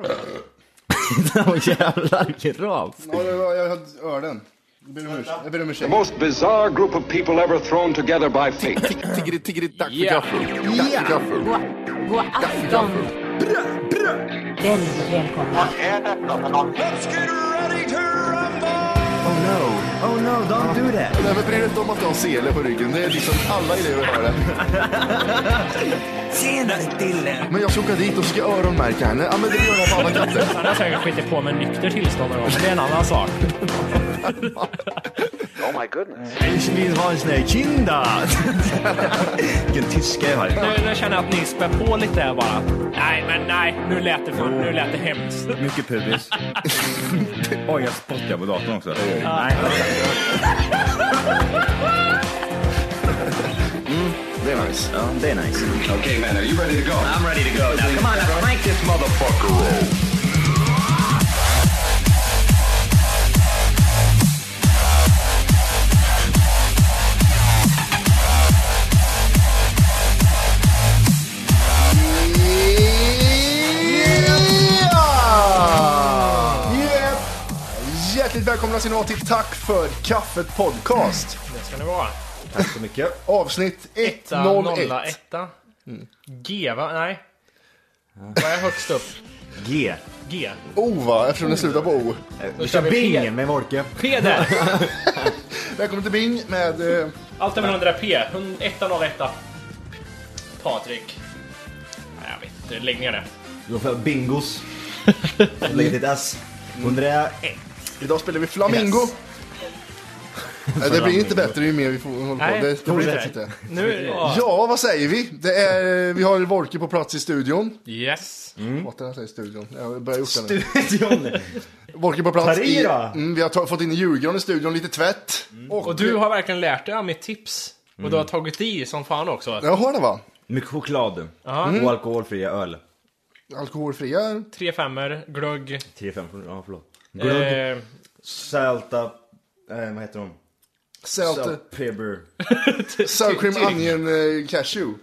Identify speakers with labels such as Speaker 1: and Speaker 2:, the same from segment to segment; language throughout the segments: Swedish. Speaker 1: Åh jävlar, giraff.
Speaker 2: Ja, det var, jag hade öronen. Jag ber om ursäkt. Jag ber om
Speaker 3: The
Speaker 2: ursäkt.
Speaker 3: most bizarre group of people ever thrown together by fate.
Speaker 4: Tiggeri, tiggeri, dack för
Speaker 1: Ja.
Speaker 4: gaffel. Dack för gaffel.
Speaker 5: God, god afton. Väldigt välkomna.
Speaker 1: Oh no, oh no, don't do that.
Speaker 4: Nej, men bry dig inte om att du har sele på ryggen. Det är liksom alla elever har det.
Speaker 1: Tjenare Dille.
Speaker 4: Men jag ska åka dit och ska öronmärka henne. Ja, men det gör jag på alla katter.
Speaker 6: Han har säkert skitit på med nykter tillstånd någon gång, men det är en annan sak.
Speaker 1: Ich will Hansne Kinder. Vilken tyska jag har.
Speaker 6: Nu, nu känner jag att ni spär på lite här bara. Nej, men nej, nu lät det, fan, nu lät det hemskt.
Speaker 7: Mycket pubis. Oj, jag spottar på datorn också.
Speaker 1: Nej,
Speaker 4: Det är nice.
Speaker 1: ja, det är nice.
Speaker 3: okay, man, are you ready to go?
Speaker 1: I'm ready to go now. Come on, now crank this motherfucker.
Speaker 4: Ja! Yep. Hjärtligt välkomna ska ni vara till Tack för kaffet podcast.
Speaker 6: Det ska ni vara.
Speaker 2: Tack så mycket.
Speaker 4: Avsnitt 101.
Speaker 6: etta. Mm. G, va? Nej. Vad är högst upp?
Speaker 1: G.
Speaker 6: G.
Speaker 4: O va, eftersom den slutar på O.
Speaker 1: Kör
Speaker 6: Då kör vi P.
Speaker 1: bingen med Wolke.
Speaker 6: P där.
Speaker 4: Välkommen till Bing med eh,
Speaker 6: Allt över 100 P. 101. Patrik. Nej, jag vet inte. Lägg ner det.
Speaker 1: Du får bingos. Lägg ditt S. 101.
Speaker 7: Mm.
Speaker 4: Idag spelar vi Flamingo.
Speaker 1: Yes.
Speaker 4: Nej, Det blir inte bättre ju mer vi får hålla på.
Speaker 6: Nej,
Speaker 4: Det, det blir
Speaker 1: fortsätt.
Speaker 4: faktiskt inte.
Speaker 6: Nu...
Speaker 4: Ja, vad säger vi? Det är, vi har Wolke på plats i studion.
Speaker 6: Yes.
Speaker 4: Hatar när jag säger studion. Jag börjar gjort det nu.
Speaker 1: Studion.
Speaker 4: Wolke på plats
Speaker 1: Ta i
Speaker 4: i...
Speaker 1: då.
Speaker 4: Mm, vi har ta- fått in julgran i studion, lite tvätt.
Speaker 6: Mm. Och du har verkligen lärt dig av mitt tips. Och du har tagit i som fan också.
Speaker 4: Jag har det va?
Speaker 1: Mycket choklad. Och alkoholfria öl.
Speaker 4: Alkoholfria.
Speaker 6: Tre femmer, glögg,
Speaker 1: 3-5, ja förlåt. Glögg,
Speaker 6: eh,
Speaker 1: sälta, eh, vad heter de?
Speaker 4: Salt,
Speaker 1: Salt, pepper.
Speaker 4: sour cream, onion, eh, cashew.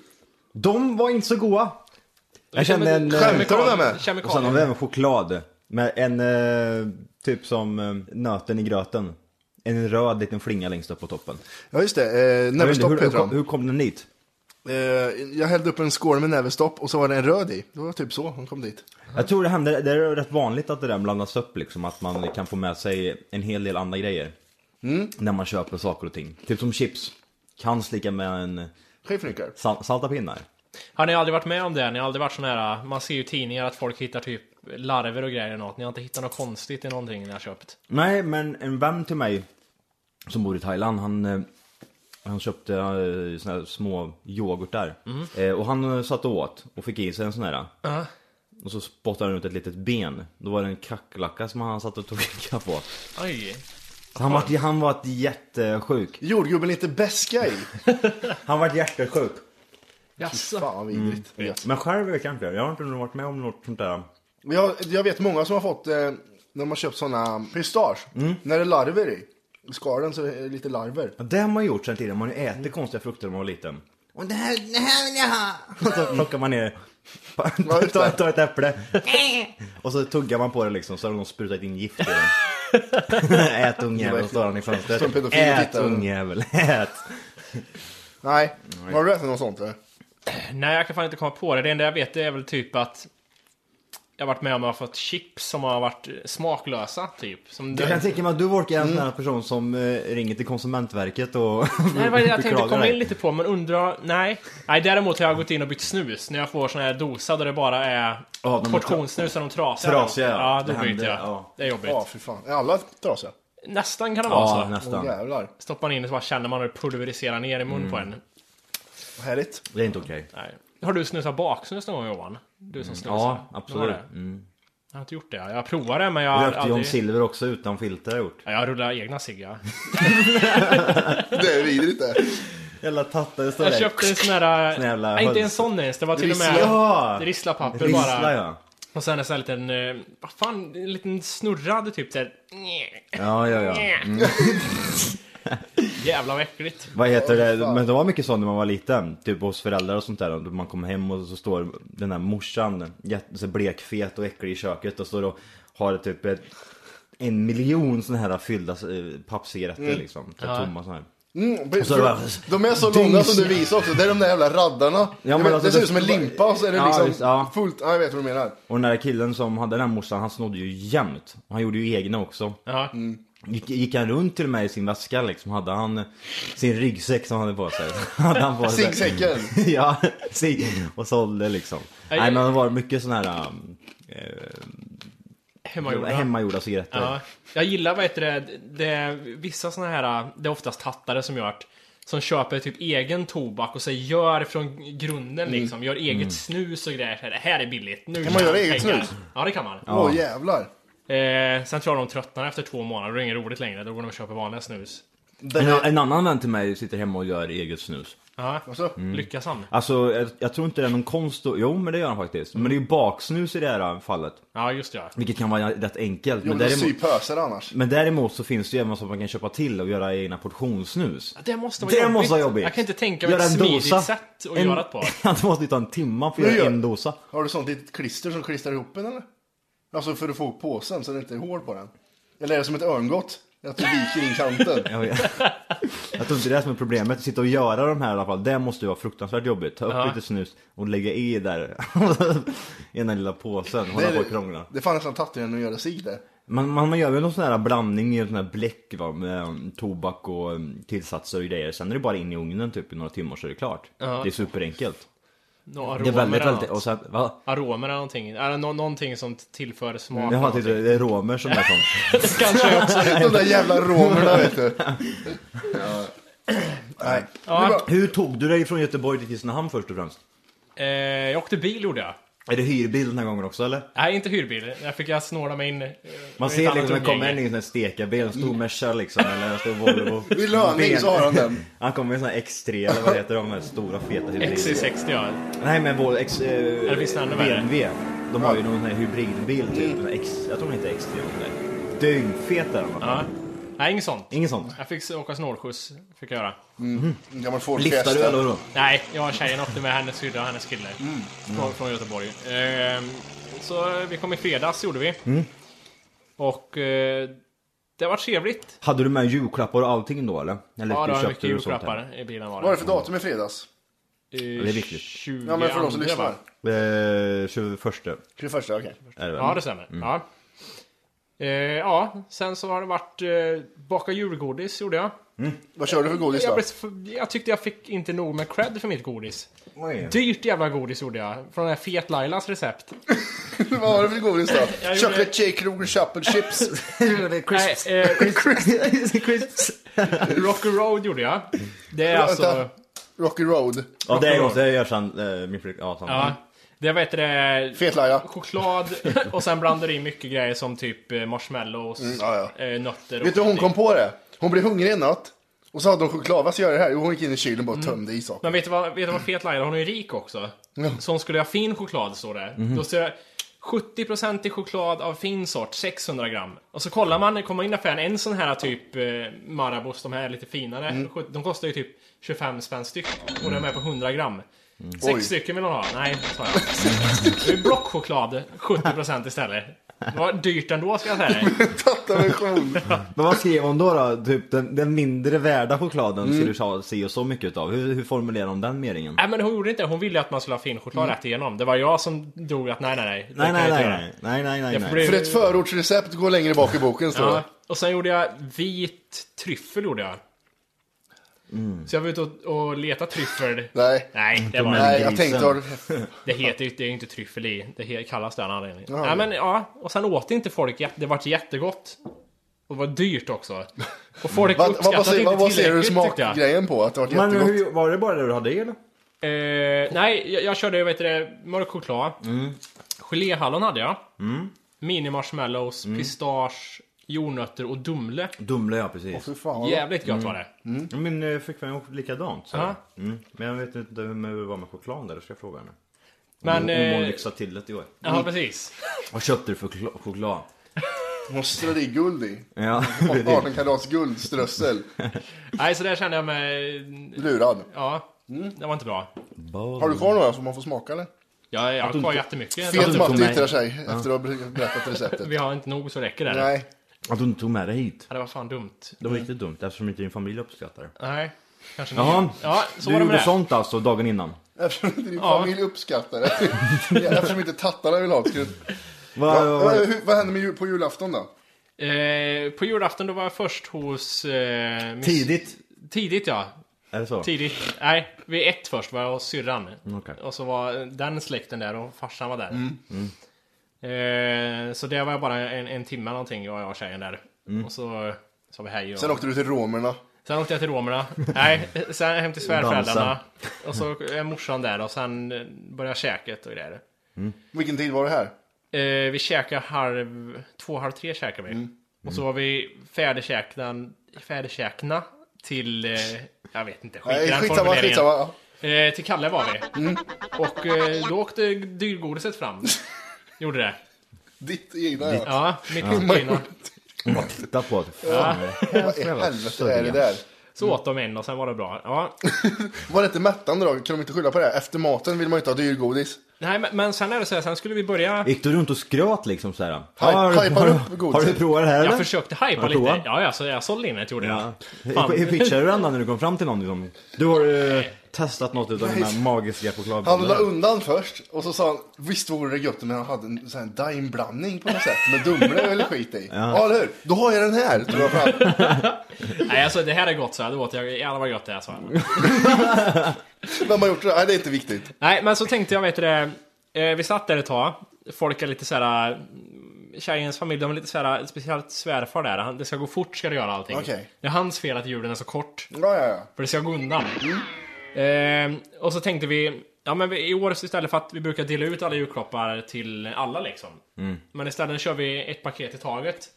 Speaker 1: De var inte så goda. Jag kände en... eh,
Speaker 4: Skämtar du med mig?
Speaker 1: Och sen har
Speaker 6: Kemikalier.
Speaker 1: vi även choklad. Med en eh, typ som eh, nöten i gröten. En röd liten flinga längst upp på toppen.
Speaker 4: Ja just det, eh, Neverstop
Speaker 1: hur, hur,
Speaker 4: heter
Speaker 1: kom,
Speaker 4: de.
Speaker 1: hur kom den dit?
Speaker 4: Eh, jag hällde upp en skål med Neverstop och så var det en röd i. Det var typ så hon kom dit.
Speaker 1: Jag tror det händer, det är rätt vanligt att det där blandas upp liksom. Att man kan få med sig en hel del andra grejer. När man köper saker och ting. Typ som chips. Kan slicka med en
Speaker 4: Skifnycklar.
Speaker 1: sal salta pinnar.
Speaker 6: Har ni aldrig varit med om det? Ni har aldrig varit sån här, man ser ju i tidningar att folk hittar typ larver och grejer i något. Ni har inte hittat något konstigt i någonting ni har köpt.
Speaker 1: Nej, men en vän till mig som bor i Thailand, han, eh, han köpte eh, såna här små yoghurtar. Eh, och han eh, satt och åt och fick i sig en sån här. Och så spottade han ut ett litet ben. Då var det en kacklacka som han satt och tog kacka på.
Speaker 6: Aj.
Speaker 1: Så han var, han var jättesjuk.
Speaker 4: Jordgubben lite beska i.
Speaker 1: Han var hjärtesjuk.
Speaker 6: Jaså?
Speaker 4: Fan vad vidrigt. Gött.
Speaker 1: Men själv vet Mm, jag inte. Jag har inte varit med om något sånt där.
Speaker 4: Men Jag, jag vet många som har fått, eh, när man köpt sådana pistage,
Speaker 1: Mm.
Speaker 4: när det är larver i. I skalen så är det lite larver.
Speaker 1: Ja, Det har man gjort sen tidigare. Man har ju ätit konstiga frukter när man var liten. Mm. Och det här, det här vill jag ha! Och så plockar man ner, tar, tar ett äpple. Och så tuggar man på det liksom, så har de sprutat in gift i den. ät ungjävel, står han i fönstret.
Speaker 4: Står en pedofil och
Speaker 1: Ät
Speaker 4: tittar.
Speaker 1: ungjävel, ät!
Speaker 4: Nej, har du ätit något sånt? eh? eller?
Speaker 6: Nej, jag kan fan inte komma på det. Det enda jag vet det är väl typ att jag har varit med om att jag har fått chips som har varit smaklösa, typ. Som
Speaker 1: Jag kan tänka mig att du Wolke är en sån här person som eh, ringer till Konsumentverket och
Speaker 6: Nej, det var det jag tänkte
Speaker 1: beklagar
Speaker 6: komma
Speaker 1: dig.
Speaker 6: in lite på, men undrar... Nej. nej. Däremot har jag gått in och bytt snus när jag får såna här dosa där det bara är
Speaker 1: Ja, de är
Speaker 6: portionssnus och de trasiga.
Speaker 1: Trasiga, ja.
Speaker 6: ja. då
Speaker 1: Det
Speaker 6: byter
Speaker 1: händer,
Speaker 6: jag.
Speaker 1: ja.
Speaker 6: Det är jobbigt.
Speaker 4: Ja, för fan. Är alla trasiga?
Speaker 6: Nästan kan det vara
Speaker 1: Ja,
Speaker 6: så.
Speaker 1: nästan.
Speaker 4: Åh jävlar.
Speaker 6: Stoppar man in och så bara känner man hur det pulveriserar ner i mun på
Speaker 1: Mm.
Speaker 6: en.
Speaker 4: Vad härligt.
Speaker 1: Det är inte okej.
Speaker 6: Nej. Har du snusat baksnus någon gång Johan? Du som snusar?
Speaker 1: Mm. Ja, absolut.
Speaker 6: Har det?
Speaker 1: Mm.
Speaker 6: Jag har inte gjort det. Jag provar det men jag har
Speaker 1: Rökte John
Speaker 6: aldrig...
Speaker 1: Silver också utan filter har jag gjort.
Speaker 6: Ja, jag rullar egna cigg ja.
Speaker 4: Det är vidrigt det.
Speaker 1: Jävla tattare står
Speaker 6: Jag
Speaker 1: där.
Speaker 6: köpte en sån där...
Speaker 1: Sån jävla
Speaker 6: Nej, inte en
Speaker 1: höls-
Speaker 6: sån ens. Det var till och med...
Speaker 1: Ja!
Speaker 6: Risslapapper bara.
Speaker 1: Rissla ja.
Speaker 6: Och sen en sån här liten, eh, vad fan, en liten snurrad typ såhär.
Speaker 1: Ja, ja, Mm. ja.
Speaker 6: Jävlar vad äckligt.
Speaker 1: Vad heter det? Men det var mycket sånt när man var liten. Typ hos föräldrar och sånt där. Och Man kom hem och så står den här morsan jätte- så blekfet och äcklig i köket och står och har typ ett, en miljon såna här fyllda eh, pappcigaretter liksom. Så
Speaker 6: Ja.
Speaker 1: Tomma såna här.
Speaker 4: Mm,
Speaker 1: så är det bara-
Speaker 4: de är så
Speaker 1: Dings.
Speaker 4: långa som du visar också, det är de där jävla raddarna. Jag vet,
Speaker 1: alltså,
Speaker 4: det ser
Speaker 1: det-
Speaker 4: ut som en limpa och så är det
Speaker 1: Ja,
Speaker 4: liksom
Speaker 1: just- ja.
Speaker 4: fullt, ja jag vet vad du menar.
Speaker 1: Och den där killen som hade den här morsan, han snodde ju jämt. Och Han gjorde ju egna också.
Speaker 6: Ja.
Speaker 1: Mm. Gick, gick han runt till och med i sin väska liksom? Hade han sin ryggsäck som han hade på sig? hade han på sig.
Speaker 4: Ziggsäcken.
Speaker 1: ja, sig. Och sålde liksom. Nej, men det var mycket sådana här um,
Speaker 6: Hemmagjorda.
Speaker 1: hemmagjorda cigaretter.
Speaker 6: Ja. Jag gillar, vad heter det, det är vissa såna här, det är oftast tattare som gör att som köper typ egen tobak och så gör från grunden
Speaker 1: Mm.
Speaker 6: liksom, gör eget snus och grejer. Så här, Det här är billigt. Nu
Speaker 4: Kan man
Speaker 6: tjänar
Speaker 4: göra
Speaker 6: jag
Speaker 4: eget
Speaker 6: pengar."
Speaker 4: snus?
Speaker 6: Ja, det kan man.
Speaker 4: Åh jävlar.
Speaker 6: Eh, sen tror jag de tröttnar efter två månader, då är det inget roligt längre. Då går de och köper vanliga snus.
Speaker 1: En, en annan vän till mig sitter hemma och gör eget snus.
Speaker 6: Ja,
Speaker 4: Alltså,
Speaker 1: Mm,
Speaker 6: lyckas han?
Speaker 1: Alltså jag, jag tror inte det är någon konst och, Jo men det gör han faktiskt. Men det är ju baksnus i det här fallet.
Speaker 6: Ja, just det. Ja.
Speaker 1: Vilket kan vara rätt enkelt.
Speaker 4: jo men
Speaker 1: Men
Speaker 4: de
Speaker 1: däremot,
Speaker 4: syr pösar annars.
Speaker 1: men däremot så finns det ju även så att man kan köpa till och göra egna portionssnus.
Speaker 6: Det måste vara
Speaker 1: Det
Speaker 6: jobbigt.
Speaker 1: måste vara jobbigt.
Speaker 6: Jag kan inte tänka mig
Speaker 1: Göra
Speaker 6: ett
Speaker 1: en
Speaker 6: smidigt
Speaker 1: dosa.
Speaker 6: sätt att
Speaker 1: En-
Speaker 6: göra det på.
Speaker 1: Han måste ju ta en timma för att
Speaker 4: Men
Speaker 1: göra
Speaker 4: gör-
Speaker 1: en dosa.
Speaker 4: Har du sånt litet klister som klistrar ihop en eller? Alltså för att få upp påsen så det inte är hål på den. Eller är det som ett örngott? Att du viker in kanten.
Speaker 1: Jag, vet. jag tror inte det är som är problemet, att sitta och göra de här i alla fall. Det måste ju vara fruktansvärt jobbigt. Ta upp
Speaker 6: Ja.
Speaker 1: lite snus och lägga i där. I den här lilla påsen, hålla på och krångla.
Speaker 4: det är fan nästan tattigare än att göra sig det.
Speaker 1: Man, man, man gör väl någon sån här blandning i en sån här bläck va, med um, tobak och um, tillsatser och grejer. Sen är det bara in i ugnen typ i några timmar så är det klart. Det är superenkelt.
Speaker 6: Några
Speaker 1: Det är
Speaker 6: aromer
Speaker 1: väldigt,
Speaker 6: eller
Speaker 1: väldigt,
Speaker 6: något.
Speaker 1: och sen, va?
Speaker 6: Aromer eller någonting. Eller nå- någonting som t- tillför smak.
Speaker 1: Jaha, det typ, det är romer som är sånt.
Speaker 6: Kanske också.
Speaker 4: De där jävla romerna vet du. Nej. Det är bra.
Speaker 1: Hur tog du dig från Göteborg till Kristinehamn först och främst?
Speaker 6: Eh, jag åkte bil gjorde jag.
Speaker 1: Är det hyrbil den här gången också eller?
Speaker 6: Nej, inte hyrbil. Jag fick jag snåla mig in. eh,
Speaker 1: Man
Speaker 6: i
Speaker 1: ser
Speaker 6: ett
Speaker 1: liksom
Speaker 6: annat
Speaker 1: det kommer en
Speaker 6: umgänge.
Speaker 1: i en sån här stekarbil, en stor Merca liksom eller en stor Volvo.
Speaker 4: I löning så har han den.
Speaker 1: Han kommer i en sån här X3 eller vad heter de här stora feta hybriderna?
Speaker 6: XC60 ja.
Speaker 1: Nej men vår X... Eh,
Speaker 6: Eller finns det ännu värre?
Speaker 1: BMW. De har ju någon sån här hybridbil typ. En X, jag tror den heter X3 eller sådär. Dyngfet är den va?
Speaker 6: ja. Nej, inget sånt.
Speaker 1: Inget sånt.
Speaker 6: Jag fick s- åka snålskjuts. Fick jag göra.
Speaker 4: En gammal Ford
Speaker 1: Liftar du
Speaker 4: Fiesta.
Speaker 1: eller då?
Speaker 6: Nej, jag och tjejen åkte med hennes syrra och hennes kille.
Speaker 1: Mm.
Speaker 6: Från, från Göteborg. Ehm, så vi kom i fredags gjorde vi.
Speaker 1: Mm.
Speaker 6: Och eh, det var trevligt.
Speaker 1: Hade du med julklappar och allting då eller? eller
Speaker 6: Ja, det var
Speaker 1: köpte
Speaker 6: mycket
Speaker 1: du sånt här?
Speaker 6: julklappar i bilen var
Speaker 4: Vad är det för datum i fredags?
Speaker 6: Eh,
Speaker 1: Det är viktigt.
Speaker 6: 20
Speaker 4: Ja men för de som
Speaker 6: andra,
Speaker 4: lyssnar.
Speaker 6: va?
Speaker 1: Eh, 21 är
Speaker 4: 21 okej.
Speaker 1: det väl?
Speaker 6: Ja, det stämmer.
Speaker 1: Mm.
Speaker 6: Ja. Eh, ja, sen så har det varit eh, baka julgodis gjorde jag.
Speaker 4: Vad kör du för godis
Speaker 6: Jag,
Speaker 4: då?
Speaker 6: blev, för- jag tyckte jag fick inte nog med cred för mitt godis. Dyrt jävla godis gjorde jag. Från den här Fet Lailas recept.
Speaker 4: Vad har du för godis då?
Speaker 6: Jag gjorde-
Speaker 4: Chocolate shake, Kroger Chapel chips.
Speaker 6: Nej, eh, Rocky Road gjorde jag. Det är alltså...
Speaker 4: Vänta. Rocky Road.
Speaker 1: Ja det är gott, det gör sen eh, min flickvän. Ja, sen.
Speaker 4: Mm.
Speaker 6: Ja, det vet det
Speaker 4: Fet-Laila.
Speaker 6: Choklad och sen blandar du i mycket grejer som typ eh, marshmallows,
Speaker 4: Mm, ja,
Speaker 6: eh, nötter och
Speaker 4: Vet du hur hon
Speaker 6: skit.
Speaker 4: kom på det? Hon blev hungrig en natt. Och så hade hon choklad, vad ska jag göra här? Jo, hon gick in i kylen och bara tömde i saker.
Speaker 6: Mm. Men vet du vad, vet du vad fet Laila, hon är ju rik också. Så hon skulle ha fin choklad står det.
Speaker 1: Mhm.
Speaker 6: Då står det 70% i choklad av fin sort, 600 gram. Och så kollar man, kommer man in i affären, en sån här typ eh, Marabos, de här lite finare,
Speaker 1: Mm.
Speaker 6: sjut- de kostar ju typ 25 spänn styck. Och de är på 100 gram.
Speaker 1: Mm.
Speaker 6: Sex stycken vill hon ha. Nej, sa jag. Det är blockchoklad, 70% istället. Det var dyrt ändå ska jag säga dig.
Speaker 4: Tattaversion.
Speaker 1: Men vad skrev hon då? då? Typ den, den mindre värda chokladen skulle du ha se och så mycket utav. Hur, hur formulerar hon den meningen?
Speaker 6: Nej men hon gjorde inte det. Hon ville att man skulle ha fin choklad rätt igenom. Det var jag som drog att nej nej nej. det
Speaker 1: Mm. Nej,
Speaker 6: kan
Speaker 1: nej,
Speaker 6: jag
Speaker 1: nej,
Speaker 6: inte göra.
Speaker 1: nej, nej, nej, nej,
Speaker 6: Jag
Speaker 1: nej.
Speaker 6: får bli-
Speaker 4: För ett förortsrecept går längre bak i boken står
Speaker 6: Ja.
Speaker 4: det.
Speaker 6: Och sen gjorde jag vit tryffel gjorde jag. Så jag var ute och, och letade tryffel.
Speaker 4: Mm. Nej.
Speaker 6: Nej, det var det
Speaker 4: Nej,
Speaker 6: inte.
Speaker 4: jag tänkte... har-
Speaker 6: Det heter ju det är ju inte tryffel i. Det he- kallas det av en anledning. Nej, men ja. Och sen åt inte folk jätte... Det vart jättegott. Och det var dyrt också. Och folk
Speaker 4: Vad, vad,
Speaker 6: uppskattade
Speaker 4: vad,
Speaker 6: inte
Speaker 4: vad, vad ser du
Speaker 6: tillräckligt, tyckte jag.
Speaker 4: smakgrejen på? Att det har varit
Speaker 1: Men
Speaker 4: jättegott?
Speaker 1: hur, var det bara det du hade i eller?
Speaker 6: Eh, nej, jag, jag körde vet du, det, mörk choklad.
Speaker 4: Mm.
Speaker 6: Geléhallon hade jag. Mini marshmallows,
Speaker 4: Mm.
Speaker 6: pistage, jordnötter och dumle.
Speaker 1: Dumle ja, precis.
Speaker 4: Fy fan, vad-
Speaker 6: Jävligt gött var det.
Speaker 4: Mm.
Speaker 1: Min eh, flickvän gjorde likadant. Så.
Speaker 6: Ja.
Speaker 1: Mm. Men jag vet inte hur det var med chokladen där, det ska jag fråga henne.
Speaker 6: Men...
Speaker 1: Hon-
Speaker 4: Mm.
Speaker 1: Hon
Speaker 6: Eh,
Speaker 1: lyxade till det i år.
Speaker 6: ja, precis.
Speaker 1: Vad köpte du för chokla- choklad?
Speaker 4: Hon strödde i guld i.
Speaker 1: Ja,
Speaker 4: 18 karats guldströssel.
Speaker 6: Nej, så där kände jag mig...
Speaker 4: Lurad.
Speaker 6: Ja,
Speaker 4: Mm.
Speaker 6: det var inte bra.
Speaker 4: Har du kvar några som man får smaka eller?
Speaker 6: Jag, jag har kvar jättemycket. Alltså,
Speaker 4: Fet
Speaker 1: tog
Speaker 4: Matti
Speaker 1: med-
Speaker 4: yttrar sig efter att ha berättat receptet.
Speaker 6: Vi har inte nog så räcker det. Nej.
Speaker 4: Nej.
Speaker 1: att du inte tog med dig hit.
Speaker 6: Det var fan dumt.
Speaker 1: Det var riktigt dumt eftersom inte din familj uppskattar det.
Speaker 6: Nej, kanske
Speaker 1: Jaha,
Speaker 6: inte. Ja, så
Speaker 1: du
Speaker 6: var det
Speaker 1: gjorde
Speaker 6: med det.
Speaker 1: sånt alltså dagen innan?
Speaker 4: Eftersom inte din
Speaker 6: Ja.
Speaker 4: familj uppskattar det. Eftersom inte tattarna vill ha det. skulle-
Speaker 1: Va,
Speaker 4: Ja,
Speaker 1: va, va,
Speaker 4: eh, hur- Vad händer med jul, på julafton då?
Speaker 6: Eh, på julafton då var jag först hos... Eh, miss-
Speaker 1: tidigt?
Speaker 6: Tidigt ja.
Speaker 1: Är det så?
Speaker 6: Tidigt. Nej, vid ett först var jag hos syrran.
Speaker 1: okej.
Speaker 6: Och så var den släkten där och farsan var där.
Speaker 4: Mm.
Speaker 1: Mm.
Speaker 6: Eh, så där var jag bara en, en timme någonting, jag och jag och tjejen där. Och så sa vi hej. Och...
Speaker 4: Sen åkte du till romerna.
Speaker 6: Sen åkte jag till romerna. Nej, sen hem till svärföräldrarna.
Speaker 1: Dansa.
Speaker 6: Och så är morsan där och sen börjar käket och grejer.
Speaker 4: Vilken tid var det här?
Speaker 6: Eh, vi käkar halv, två, halv tre käkar vi.
Speaker 4: Mm.
Speaker 6: Och så var vi färdigkäkna, färdigkäkna till, eh, jag vet inte, skit i
Speaker 4: Nej,
Speaker 6: den
Speaker 4: skitsamma,
Speaker 6: formuleringen.
Speaker 4: skitsamma. Mm. Ja.
Speaker 6: Eh, till Kalle var vi. Och eh, då åkte dyrgodiset fram. Gjorde det.
Speaker 4: Ditt egna ja.
Speaker 6: Ja, mitt ja.
Speaker 1: Titta på det. Fan, det
Speaker 4: Vad i helvete är det där?
Speaker 6: Så åt de en och sen var det bra. Ja,
Speaker 4: Var det inte mättande då? Kan de inte skylla på det? Efter maten vill man ju inte ha dyrgodis.
Speaker 6: Nej, men, men sen är det så här, sen skulle vi börja...
Speaker 1: Gick du runt och skröt liksom såhär?
Speaker 4: hypar
Speaker 1: har,
Speaker 4: upp
Speaker 1: har
Speaker 4: godset.
Speaker 1: du provat det här eller?
Speaker 6: Jag försökte hajpa
Speaker 1: Vad
Speaker 6: lite.
Speaker 1: tror han?
Speaker 6: Ja, ja, så jag sålde in ett gjorde jag.
Speaker 1: Ja.
Speaker 6: Fan.
Speaker 1: Hur hur pitchade du den då när du kom fram till någon? Liksom? Du har eh, testat något utav dina magiska
Speaker 4: Han la
Speaker 1: chokladbollar.
Speaker 4: undan först och så sa han visst vore det gött om jag hade en sån här daim-blandning på något sätt med Dumle eller skit i. Ja, eller hur? Då har jag den här! Tror jag fram.
Speaker 6: Nej, alltså det här är gott så jag. Det åt jag. Jävlar vad gott det är så jag.
Speaker 4: Vem har gjort det? Nej, det är inte viktigt.
Speaker 6: Nej, men så tänkte jag, vet du det. eh, Vi satt där ett tag. Folk är lite så här. eh, Tjejens familj, de är lite så här, eh, speciellt svärfar där. Han, det ska gå fort ska det göra allting.
Speaker 4: Okej.
Speaker 6: Det är hans fel att julen är så kort.
Speaker 4: Ja, ja, ja.
Speaker 6: För det ska gå undan.
Speaker 1: Mm.
Speaker 6: Eh, och så tänkte vi, ja men vi, i år så istället för att vi brukar dela ut alla julklappar till alla liksom.
Speaker 1: Mm.
Speaker 6: Men istället kör vi ett paket i taget.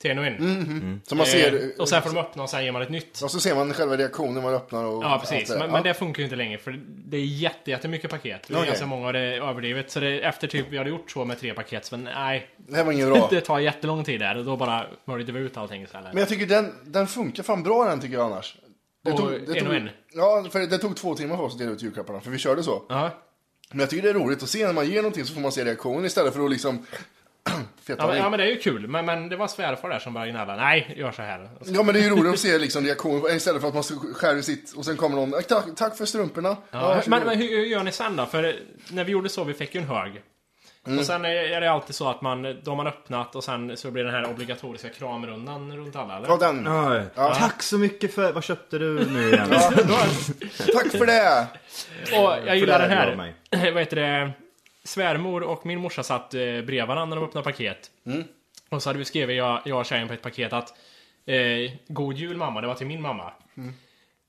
Speaker 6: Till en och en.
Speaker 4: Så man ser,
Speaker 6: Eh, och sen får de öppna och sen ger man ett nytt.
Speaker 4: och så ser man själva reaktionen man öppnar och
Speaker 6: Ja precis, men,
Speaker 4: allt
Speaker 6: men
Speaker 4: det
Speaker 6: det funkar ju inte längre för det är jätte, jättemycket paket. Det är
Speaker 4: Okej.
Speaker 6: ganska många och det är överdrivet. Så det, efter typ, vi hade gjort så med tre paket, så men nej.
Speaker 4: det här var inget bra.
Speaker 6: Det tar jättelång tid där och då bara smörjde vi ut allting istället.
Speaker 4: Men jag tycker den, den funkar fan bra den tycker jag annars. Det
Speaker 6: Och en och
Speaker 4: tog,
Speaker 6: en.
Speaker 4: Ja, för det tog två timmar för oss att dela ut julklapparna, för vi körde så.
Speaker 6: Ja.
Speaker 4: Men jag tycker det är roligt att se när man ger någonting så får man se reaktionen istället för att liksom... feta
Speaker 6: Ja, men,
Speaker 4: i.
Speaker 6: ja men det är ju kul, men, men det var svärfar där som började gnälla. Nej, gör så här. Och så-
Speaker 4: Ja men det är ju roligt att se liksom reaktionen istället för att man skär i sitt och sen kommer någon "Äh, tack, tack för strumporna.
Speaker 6: Ja,
Speaker 4: varsågod.
Speaker 6: men, men hur, hur gör ni sen då? För när vi gjorde så, vi fick ju en hög.
Speaker 4: Mm.
Speaker 6: Och sen är- är det alltid så att man, då har man öppnat och sen så blir den här obligatoriska kramrundan runt alla, eller?
Speaker 4: Ja, den.
Speaker 1: Ja. Tack så mycket för... Vad köpte du nu igen?
Speaker 4: Tack för det!
Speaker 6: Och jag gillar
Speaker 1: det
Speaker 6: den
Speaker 1: här gav
Speaker 6: här. Vad heter det? Svärmor och min morsa satt eh, bredvid varandra när de öppnade paket. Och så hade vi skrivit, jag, jag och tjejen på ett paket att eh, God jul mamma, det var till min mamma.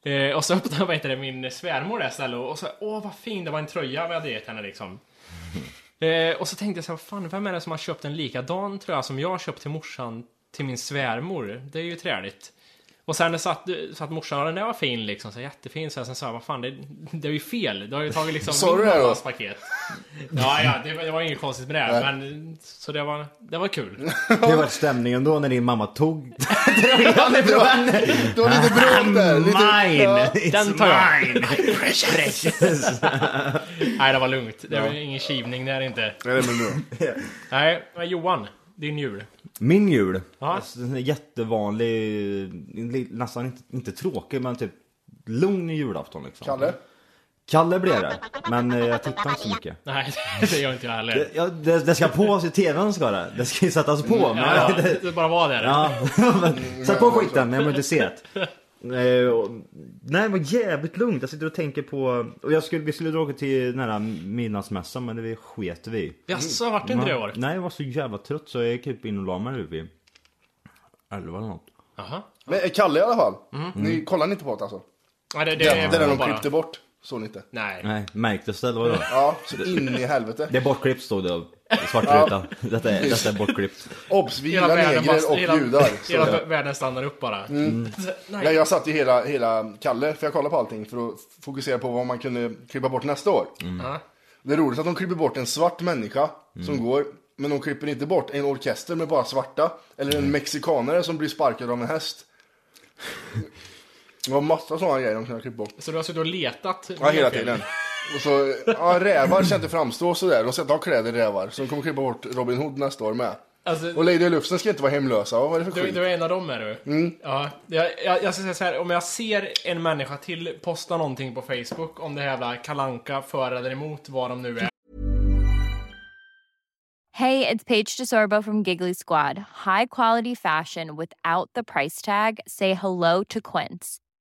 Speaker 6: Eh, och så öppnade vad heter det, min svärmor det här stället och och så åh vad fin, det var en tröja vi hade gett henne liksom. Eh, och så tänkte jag så här, fan vem är det som har köpt en likadan tröja som jag köpt till morsan till min svärmor? Det är ju träligt. Och sen satt, satt morsan och den där var fin liksom, så här, jättefin. Så här, sen sa jag, vad fan, det, det är ju fel. Du har ju tagit liksom
Speaker 4: Sa du
Speaker 6: min
Speaker 4: det då?
Speaker 6: mammas paket. Ja, ja, det, var- det var inget konstigt med det. här, Men, så det var, det var kul.
Speaker 1: Hur var stämningen då när din mamma tog
Speaker 4: Det var, det var lite bråk där. Lite,
Speaker 1: Mine!
Speaker 6: Den tar jag.
Speaker 1: mine! Precious!
Speaker 6: Nej, det var lugnt. Det var ingen kivning där inte.
Speaker 4: Nej, det är väl bra.
Speaker 6: Nej, men Johan, din jul.
Speaker 1: Min jul.
Speaker 6: Ja.
Speaker 1: Alltså, en jättevanlig, nästan inte, inte tråkig men typ lugn julafton liksom.
Speaker 4: Kalle?
Speaker 1: Kalle blev det. Men eh, jag tittar inte så mycket.
Speaker 6: Nej, det gör inte jag heller.
Speaker 1: Det, ja, det, det ska på i tvn ska det. Det ska ju sättas på. Men,
Speaker 6: Ja, ja, det bara var där.
Speaker 1: Ja, men, sätt på skiten, jag har inte sett. Nej, och- nej, det var jävligt lugnt. Jag sitter och tänker på... Och jag skulle, vi skulle dra åka till nära midnattsmässan men det sket vi i.
Speaker 6: Jaså, vart det inte det i år?
Speaker 1: Nej, jag var så jävla trött så jag gick upp in och la mig vid elva eller något.
Speaker 6: Jaha.
Speaker 4: Men eh, Kalle i alla fall. Ni kollar inte på det alltså?
Speaker 6: Ja, Mm. det, det,
Speaker 4: Det, det där de
Speaker 6: bara-
Speaker 4: klippte bort. Såg ni inte?
Speaker 6: Nej.
Speaker 1: Nej, märktes det eller vadå?
Speaker 4: Ja, så in i helvete.
Speaker 1: Det är bortklippt stod det i svartrutan. Detta är, detta är bortklippt.
Speaker 4: Obs, vi gillar negrer och
Speaker 6: hela,
Speaker 4: judar.
Speaker 6: hela
Speaker 4: Så.
Speaker 6: världen stannar upp bara. Så,
Speaker 4: Nej,
Speaker 6: Nej.
Speaker 4: jag satt ju hela, hela Kalle, för jag kollade på allting för att f- fokusera på vad man kunde klippa bort nästa år.
Speaker 6: Ja.
Speaker 4: Det är roligt att de klipper bort en svart människa som går, men de klipper inte bort en orkester med bara svarta, eller en mexikanare som blir sparkad av en häst. Det var massa sådana grejer de kunde klippa bort.
Speaker 6: Så du har suttit och letat?
Speaker 4: Ja, hela tiden. Och så, ja, rävar ska inte framstå sådär, de ska inte ha kläder rävar. Så de kommer klippa bort Robin Hood nästa år med.
Speaker 6: Alltså,
Speaker 4: Och Lady och Lufsen ska inte vara hemlösa, vad är det för
Speaker 6: Du,
Speaker 4: skit?
Speaker 6: du är en av dem är du? Ja. Jag, jag, jag ska säga så här, om jag ser en människa till posta någonting på Facebook om det här jävla kalanka för eller emot vad de nu är.
Speaker 8: Hey, it's Paige DeSorbo from Giggly Squad. High quality fashion without the price tag. Say hello to Quince.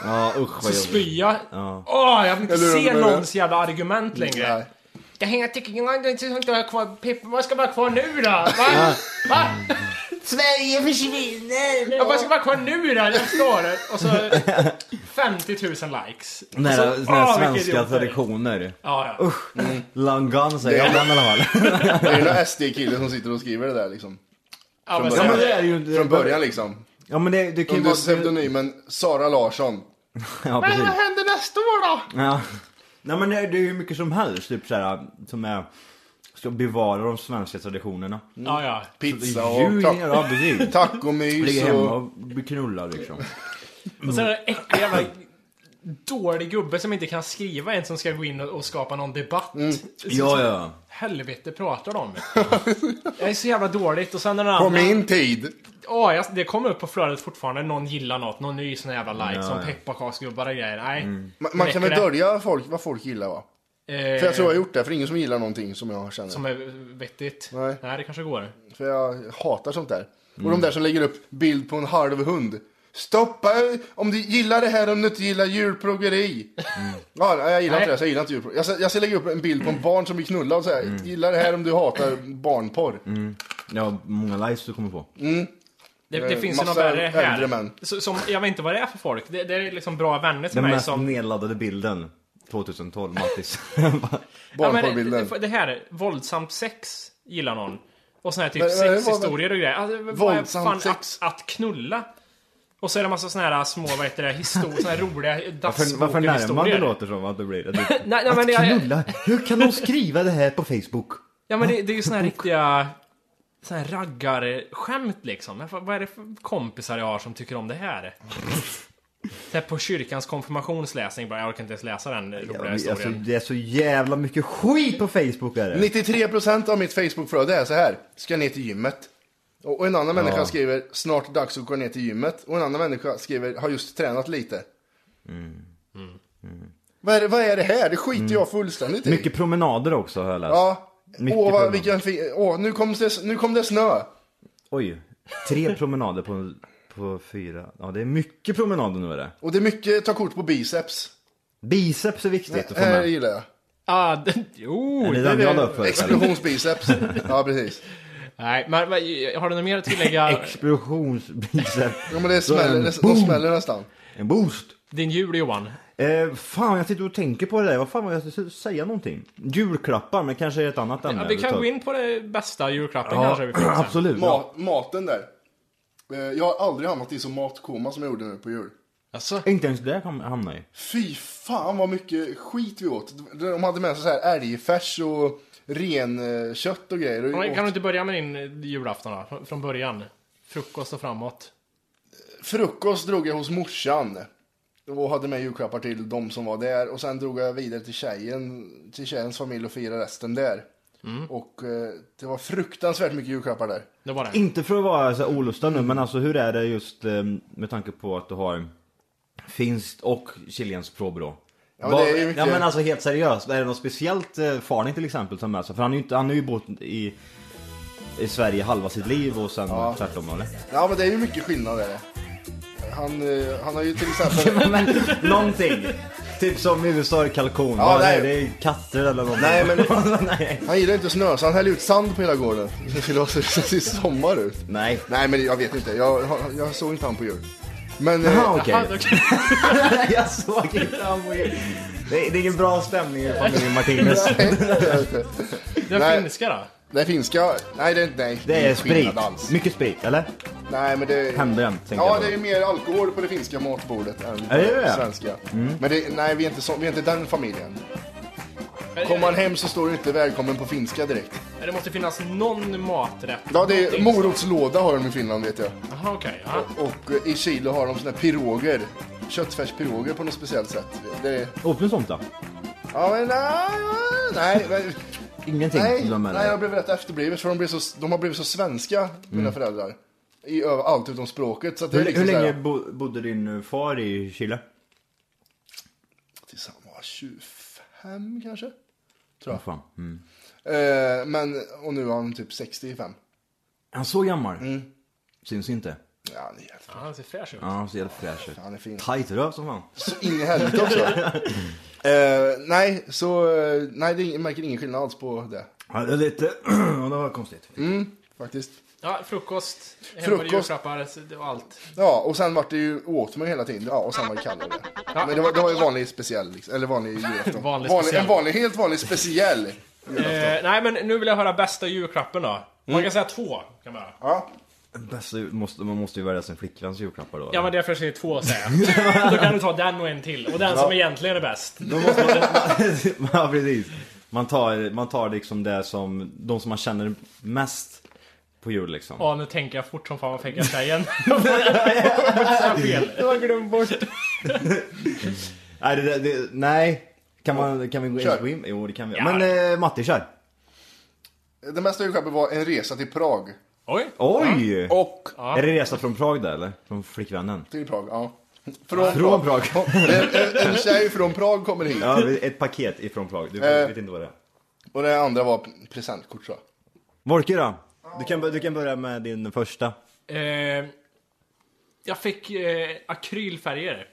Speaker 1: Ja usch
Speaker 6: Så
Speaker 1: vad jobbigt.
Speaker 6: spya.
Speaker 1: Ja.
Speaker 6: Åh, jag vill inte
Speaker 4: Eller hur
Speaker 6: se
Speaker 4: de är.
Speaker 6: någons jävla argument längre.
Speaker 4: Nej.
Speaker 6: Det här tycker jag inte jag inte har kvar. Pippa, vad ska vara kvar nu då? Va? Va? Sverige försvinner! Ja, vad ska vara kvar nu då? Jag förstår det. Och så 50 000 likes.
Speaker 1: Nära,
Speaker 6: Alltså,
Speaker 1: nära
Speaker 6: åh, vilket
Speaker 1: svenska
Speaker 6: idiot.
Speaker 1: traditioner.
Speaker 6: Ja, ja.
Speaker 1: Usch! Long gone säger
Speaker 4: Det-
Speaker 1: jag ibland i alla fall.
Speaker 4: Det är ju någon SD-kille som sitter och skriver det där liksom.
Speaker 6: ja men,
Speaker 4: Ja,
Speaker 6: sen-
Speaker 4: men
Speaker 1: det är ju-
Speaker 4: Från början liksom.
Speaker 1: Ja men det, det kan ju
Speaker 4: Under
Speaker 1: vara...
Speaker 4: pseudonymen Sara Larsson.
Speaker 1: Ja
Speaker 6: Men
Speaker 1: precis.
Speaker 6: vad händer nästa år då?
Speaker 1: Ja. Nej men det det är ju mycket som helst typ såhär som är... Ska bevara de svenska traditionerna.
Speaker 6: Ja, ja.
Speaker 4: Pizza
Speaker 1: Jul,
Speaker 4: och
Speaker 1: ja
Speaker 4: ta-
Speaker 1: precis.
Speaker 4: tacomys
Speaker 1: Ligger hemma
Speaker 4: och...
Speaker 1: och blir knullad liksom.
Speaker 6: Och sen är det en äcklig jävla dålig gubbe som inte kan skriva en som ska gå in och- och skapa någon debatt.
Speaker 4: Mm.
Speaker 1: Ja, ja.
Speaker 6: Helvete pratar de om? Jag är så jävla dåligt och sen den andra...
Speaker 4: På min tid.
Speaker 6: Ja, jag- det kommer upp på flödet fortfarande. Någon gillar något, någon ny sån här jävla like
Speaker 1: Ja,
Speaker 6: som
Speaker 1: ja. Mm.
Speaker 6: pepparkaksgubbar och grejer. Nej.
Speaker 4: Man, man kan väl
Speaker 6: Räcker det?
Speaker 4: dölja folk, vad folk gillar va?
Speaker 6: Eh,
Speaker 4: För jag tror jag har gjort det, för det är ingen som gillar någonting som jag känner.
Speaker 6: Som är vettigt.
Speaker 4: Nej.
Speaker 6: det kanske går.
Speaker 4: För jag hatar sånt där. Och
Speaker 1: Mm.
Speaker 4: de där som lägger upp bild på en halv hund. Stoppa om du gillar det här om du inte gillar djurplågeri.
Speaker 1: Mm.
Speaker 4: Ja, nej, jag gillar
Speaker 6: Nej.
Speaker 4: inte det, så jag gillar inte djurplågeri. Jag ska, jag ska lägga upp en bild på en barn som blir knullad och säga
Speaker 1: Mm.
Speaker 4: gillar det här om du hatar barnporr.
Speaker 1: Ja, många likes du kommer på.
Speaker 6: Det,
Speaker 4: Det
Speaker 6: det
Speaker 4: är
Speaker 6: finns ju något
Speaker 4: massa
Speaker 6: värre
Speaker 4: äldre
Speaker 6: här.
Speaker 4: män.
Speaker 6: Så, som, jag vet inte vad det är för folk. Det, det är liksom bra vänner till
Speaker 1: Den
Speaker 6: mig
Speaker 1: mest
Speaker 6: som...
Speaker 1: nedladdade bilden 2012, Mattis.
Speaker 6: Ja, men
Speaker 4: Barnporrbilder.
Speaker 6: det- det här, våldsamt sex gillar någon. Och såna här typ
Speaker 4: Men, men, vad-
Speaker 6: sexhistorier och grejer. Alltså, vad är
Speaker 4: Våldsamt
Speaker 6: fan
Speaker 4: sex.
Speaker 6: Att, att knulla. Och så är det massa såna här små, vad heter det, historier, såna här roliga
Speaker 1: varför varför närmande
Speaker 6: dassboken-historier.
Speaker 1: låter som att det blir. Det,
Speaker 6: Nej, nej, men det,
Speaker 1: knulla, hur kan de skriva det här på Facebook?
Speaker 6: ja, men det, det är ju såna här riktiga sån här raggarskämt liksom. Men vad vad är det för kompisar jag har som tycker om det här? Så här på kyrkans konfirmationsläsning bara, jag orkar inte ens läsa den roliga
Speaker 1: Alltså,
Speaker 6: historien.
Speaker 1: det är så jävla mycket skit på Facebook är det.
Speaker 4: 93% av mitt Facebookflöde är så här. Ska ner till gymmet. Och och en annan
Speaker 1: Ja.
Speaker 4: människa skriver snart dags att gå ner till gymmet. Och en annan människa skriver har just tränat lite. Mm. Vad är, det, vad är det här? Det skiter
Speaker 1: Mm.
Speaker 4: jag fullständigt i.
Speaker 1: Mycket promenader också har jag läst.
Speaker 4: Ja.
Speaker 1: Mycket
Speaker 4: Åh, vad,
Speaker 1: promenader.
Speaker 4: vilken fin... Åh, nu kom det, nu kom det snö.
Speaker 1: Oj, tre promenader på, på fyra. Ja, det är mycket promenader nu är det.
Speaker 4: Och det är mycket ta kort på biceps.
Speaker 1: Biceps är viktigt att få
Speaker 4: här
Speaker 1: med.
Speaker 4: gillar jag.
Speaker 6: Ah, den, jo,
Speaker 1: Är det den jag la upp förut, eller?
Speaker 4: Explosionsbiceps. ja, precis.
Speaker 6: Nej, men vad- har du något mer att tillägga?
Speaker 1: Explosionsbiceps.
Speaker 4: Ja, men det
Speaker 1: Då är
Speaker 4: smäller,
Speaker 1: en
Speaker 4: det,
Speaker 1: boom.
Speaker 4: de smäller nästan.
Speaker 1: En boost.
Speaker 6: Din jul Johan.
Speaker 1: Eh, fan, jag sitter och tänker på det där. Vad fan var jag skulle säga någonting? Julklappar, men kanske är ett annat ämne.
Speaker 6: Ja, vi kan
Speaker 1: tar-
Speaker 6: gå in på det bästa julklappen
Speaker 1: Ja,
Speaker 6: kanske. Vi får sen.
Speaker 1: absolut.
Speaker 4: Ma- maten där. Eh, Jag har aldrig hamnat i så matkoma som jag gjorde nu på jul.
Speaker 1: Inte ens där kan jag hamna i.
Speaker 4: Fy fan vad mycket skit vi åt. De hade med sig så här älgfärs och renkött och grejer. Och
Speaker 6: Men
Speaker 4: åt
Speaker 6: Kan du inte börja med din eh, julafton då? Från- Från början. Frukost och framåt.
Speaker 4: Frukost drog jag hos morsan. Och hade med julklappar till de som var där. Och sen drog jag vidare till tjejen, till tjejens familj och firade resten där.
Speaker 6: Mm.
Speaker 4: Och eh, det var fruktansvärt mycket julklappar där.
Speaker 6: Det var det.
Speaker 1: Inte för att vara så här olustig nu, men alltså hur är det just eh, med tanke på att du har finskt och chilensk påbrå?
Speaker 4: Ja, men
Speaker 1: Vad-
Speaker 4: det är ju
Speaker 1: ja
Speaker 4: mycket-
Speaker 1: men alltså helt seriöst, är det något speciellt eh, Farning till exempel som med sig? För han, är ju inte, han har ju bott i, i Sverige halva sitt liv och sen
Speaker 4: Ja.
Speaker 1: tvärtom eller?
Speaker 4: Ja men det är ju mycket skillnad är det. Han, eh, han har ju till exempel...
Speaker 1: Någonting! typ som i USA är kalkon,
Speaker 4: Ja,
Speaker 1: ja, det, är,
Speaker 4: nej.
Speaker 1: det är katter eller någonting.
Speaker 4: Nej men han gillar inte snö så han häller ut sand på hela gården. Det skulle se så det ser sommar ut.
Speaker 1: Nej.
Speaker 4: Nej men jag vet inte, jag, har- jag såg inte han på jul. Men... eh,
Speaker 1: Jaha, okej.
Speaker 6: Ah,
Speaker 1: Jaha, jag såg inte han på jul. Det, är- det är ingen bra stämning i familjen Martinez.
Speaker 6: Den
Speaker 4: Nej.
Speaker 6: finska då? Eh,
Speaker 4: Nej finska, nej det är inte, nej.
Speaker 1: Det är
Speaker 4: ingen
Speaker 1: sprit.
Speaker 4: skillnad alls.
Speaker 1: Mycket sprit, eller?
Speaker 4: Nej men det...
Speaker 1: Händer jämt, tänker
Speaker 4: Ja
Speaker 1: jag.
Speaker 4: det är ju mer alkohol på det finska matbordet än på
Speaker 1: Är det
Speaker 4: det
Speaker 1: det?
Speaker 4: svenska.
Speaker 1: Mm.
Speaker 4: Men det, nej vi är, inte så, vi är inte den familjen. Kommer man hem så står det inte välkommen på finska direkt.
Speaker 6: Det måste finnas någon maträtt.
Speaker 4: Ja det är
Speaker 6: någonting.
Speaker 4: morotslåda har de i Finland vet jag.
Speaker 6: Jaha, okej. ja.
Speaker 4: Och eh, i Chile har de såna här piroger. Köttfärspiroger på något speciellt sätt. Det är...
Speaker 1: Åt ni sånt då?
Speaker 4: Ja men nej, nej. men-
Speaker 1: Ingenting?
Speaker 4: Nej,
Speaker 1: de är-
Speaker 4: nej, jag blev rätt efterblivet för de, blev så, de har blivit så svenska, mina
Speaker 1: Mm.
Speaker 4: föräldrar. I över- allt utom språket. Så att det
Speaker 1: Hur,
Speaker 4: är liksom
Speaker 1: hur
Speaker 4: så
Speaker 1: länge
Speaker 4: här-
Speaker 1: bo, bodde din eh, far i Chile?
Speaker 4: Tills han var 25 kanske? Tror jag.
Speaker 1: Vad fan. Mm.
Speaker 4: Eh, men, och nu är han typ 65.
Speaker 1: Han är så gammal.
Speaker 4: Mm.
Speaker 1: Syns inte.
Speaker 4: Ja, han är jävligt
Speaker 6: Ja, han ser fräsch ut.
Speaker 1: Ja, han ser jävligt fräsch ut.
Speaker 4: Han är fin.
Speaker 1: Tight röv som fan.
Speaker 4: Så in i helvete också. Eh, nej, så eh, nej, det är- jag märker ingen skillnad alls på det.
Speaker 1: Ja, det är lite... ja, det var konstigt.
Speaker 4: Mm, faktiskt.
Speaker 6: Ja, frukost. Frukost.
Speaker 4: Frukost.
Speaker 6: Julklappar så det var allt.
Speaker 4: Ja, och sen vart det ju åt mig hela tiden. Ja, och sen var det kallare. Men det var, det var ju vanlig speciell, liksom, eller vanlig julafton.
Speaker 6: Vanlig speciell.
Speaker 4: en vanlig, helt vanlig speciell.
Speaker 6: Eh, nej, men nu vill jag höra bästa julklappen då. Man kan säga två. Kan man. göra.
Speaker 4: Ja.
Speaker 1: Bästa, jul- måste, man måste ju välja sin flickväns julklappar då.
Speaker 6: Ja, men därför säger två säger jag. Då kan du ta den och en till. Och den
Speaker 1: Ja.
Speaker 6: som egentligen är bäst.
Speaker 1: ja, precis. Man tar, man tar liksom det som, de som man känner mest på jul liksom.
Speaker 6: Ja, nu tänker jag fort som fan vad fick jag tjejen? Jag får säga fel. Jag har glömt bort.
Speaker 1: Nej, det, det, nej. Kan, man, kan vi gå ens gå in? Jo, det kan vi.
Speaker 4: Ja.
Speaker 1: Men eh, Matti, kör.
Speaker 4: Den bästa julklappen var en resa till Prag.
Speaker 6: Oj!
Speaker 1: Oj!
Speaker 4: Och...
Speaker 1: Är det resa från Prag där eller? Från flickvännen?
Speaker 4: Till Prag, ja.
Speaker 1: Från, Prag.
Speaker 4: en, en tjej från Prag kommer hit.
Speaker 1: ja, ett paket ifrån Prag. Du
Speaker 4: Eh.
Speaker 1: vet inte vad det är.
Speaker 4: Och det andra var presentkort så.
Speaker 1: Volke då? Du kan, bör- du kan börja med din första.
Speaker 6: Eh, jag fick eh, akrylfärger.